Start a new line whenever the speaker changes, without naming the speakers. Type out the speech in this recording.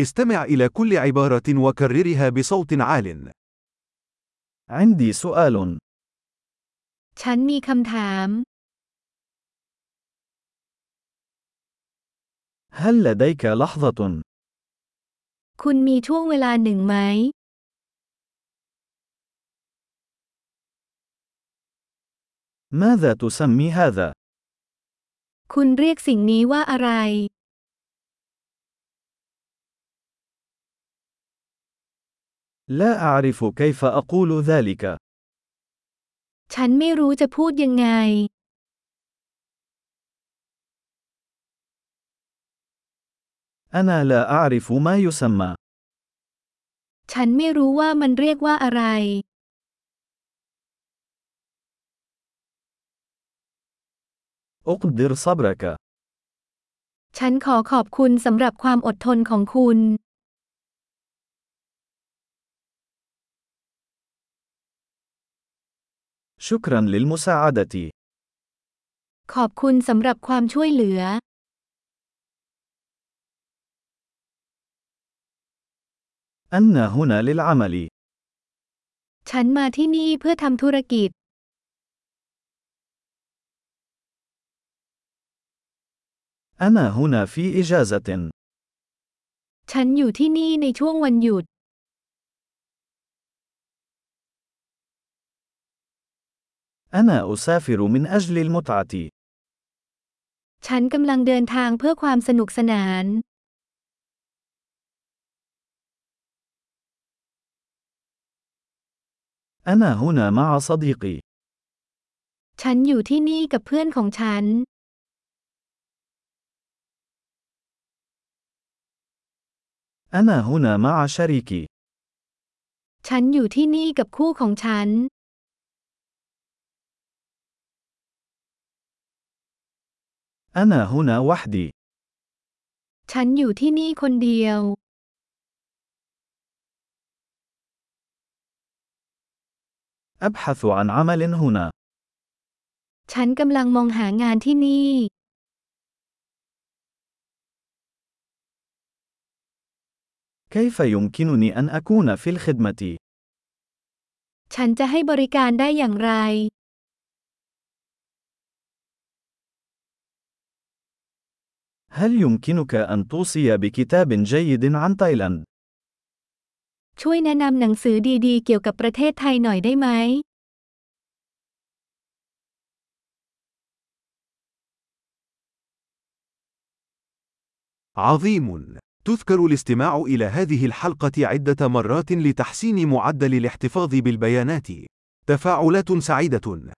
استمع إلى كل عبارة وكررها بصوت عال.
عندي سؤال.
ฉันมีคำถาม
هل لديك لحظة؟
คุณมีช่วงเวลาหนึ่งไหม
ماذا تسمي هذا؟
คุณเรียกสิ่งนี้ว่าอะไร
لا أعرف كيف أقول ذلك.
ฉันไม่รู้จะพูดยังไง
أنا لا أعرف ما يسمى.
ฉันไม่รู้ว่ามันเรียกว่าอะไร
أقدر صبرك.
ฉันขอขอบคุณสำหรับความอดทนของคุณ
شكرا للمساعدة.
ขอบคุณสำหรับความช่วยเหลือ
أنا هنا للعمل.
ฉันมาที่นี่เพื่อทำธุรกิจ
أنا هنا في إجازة.
ฉันอยู่ที่นี่ในช่วงวันหยุด
أنا أسافر من أجل المتعة.
ฉันกำลังเดินทางเพื่อความสนุกสนาน
أنا هنا مع صديقي.
ฉันอยู่ที่นี่กับเพื่อนของฉัน
أنا هنا مع شريكي.
ฉันอยู่ที่นี่กับคู่ของฉัน
أنا هنا وحدي.
ฉันอยู่ที่นี่คนเดียว
أبحث عن عمل هنا.
ฉันกำลังมองหางานที่นี่
كيف يمكنني أن أكون في الخدمة؟
ฉันจะให้บริการได้อย่างไร
هل يمكنك أن توصي بكتاب جيد عن تايلاند؟
ช่วยแนะนำหนังสือดีๆ เกี่ยวกับประเทศไทยหน่อยได้ไหม
عظيم! تذكر الاستماع إلى هذه الحلقة عدة مرات لتحسين معدل الاحتفاظ بالبيانات. تفاعلات سعيدة!